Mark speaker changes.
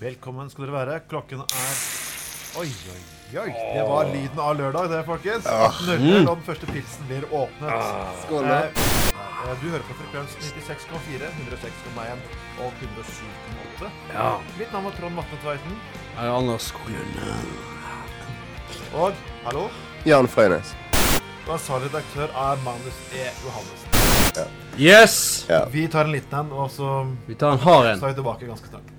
Speaker 1: Velkommen skal dere være. Klokken er Oi, oi, oi. Det var lyden av lørdag, det, folkens. 18.00, og den første pilsen blir åpnet.
Speaker 2: Skål. da.
Speaker 1: Eh, eh, Du hører på frekvens 96,4, 106,1 og 107,8.
Speaker 2: Ja.
Speaker 1: Mitt navn er Trond Matne Tveiten.
Speaker 2: Er det Anders Grønne?
Speaker 1: Og hallo,
Speaker 3: Jan Frøynes.
Speaker 1: vår ansvarlig redaktør er Magnus E. Johannessen.
Speaker 2: Yes!
Speaker 3: Ja.
Speaker 1: Vi tar en liten en, og så
Speaker 2: Vi tar en hard en.
Speaker 1: så er vi tilbake ganske snart.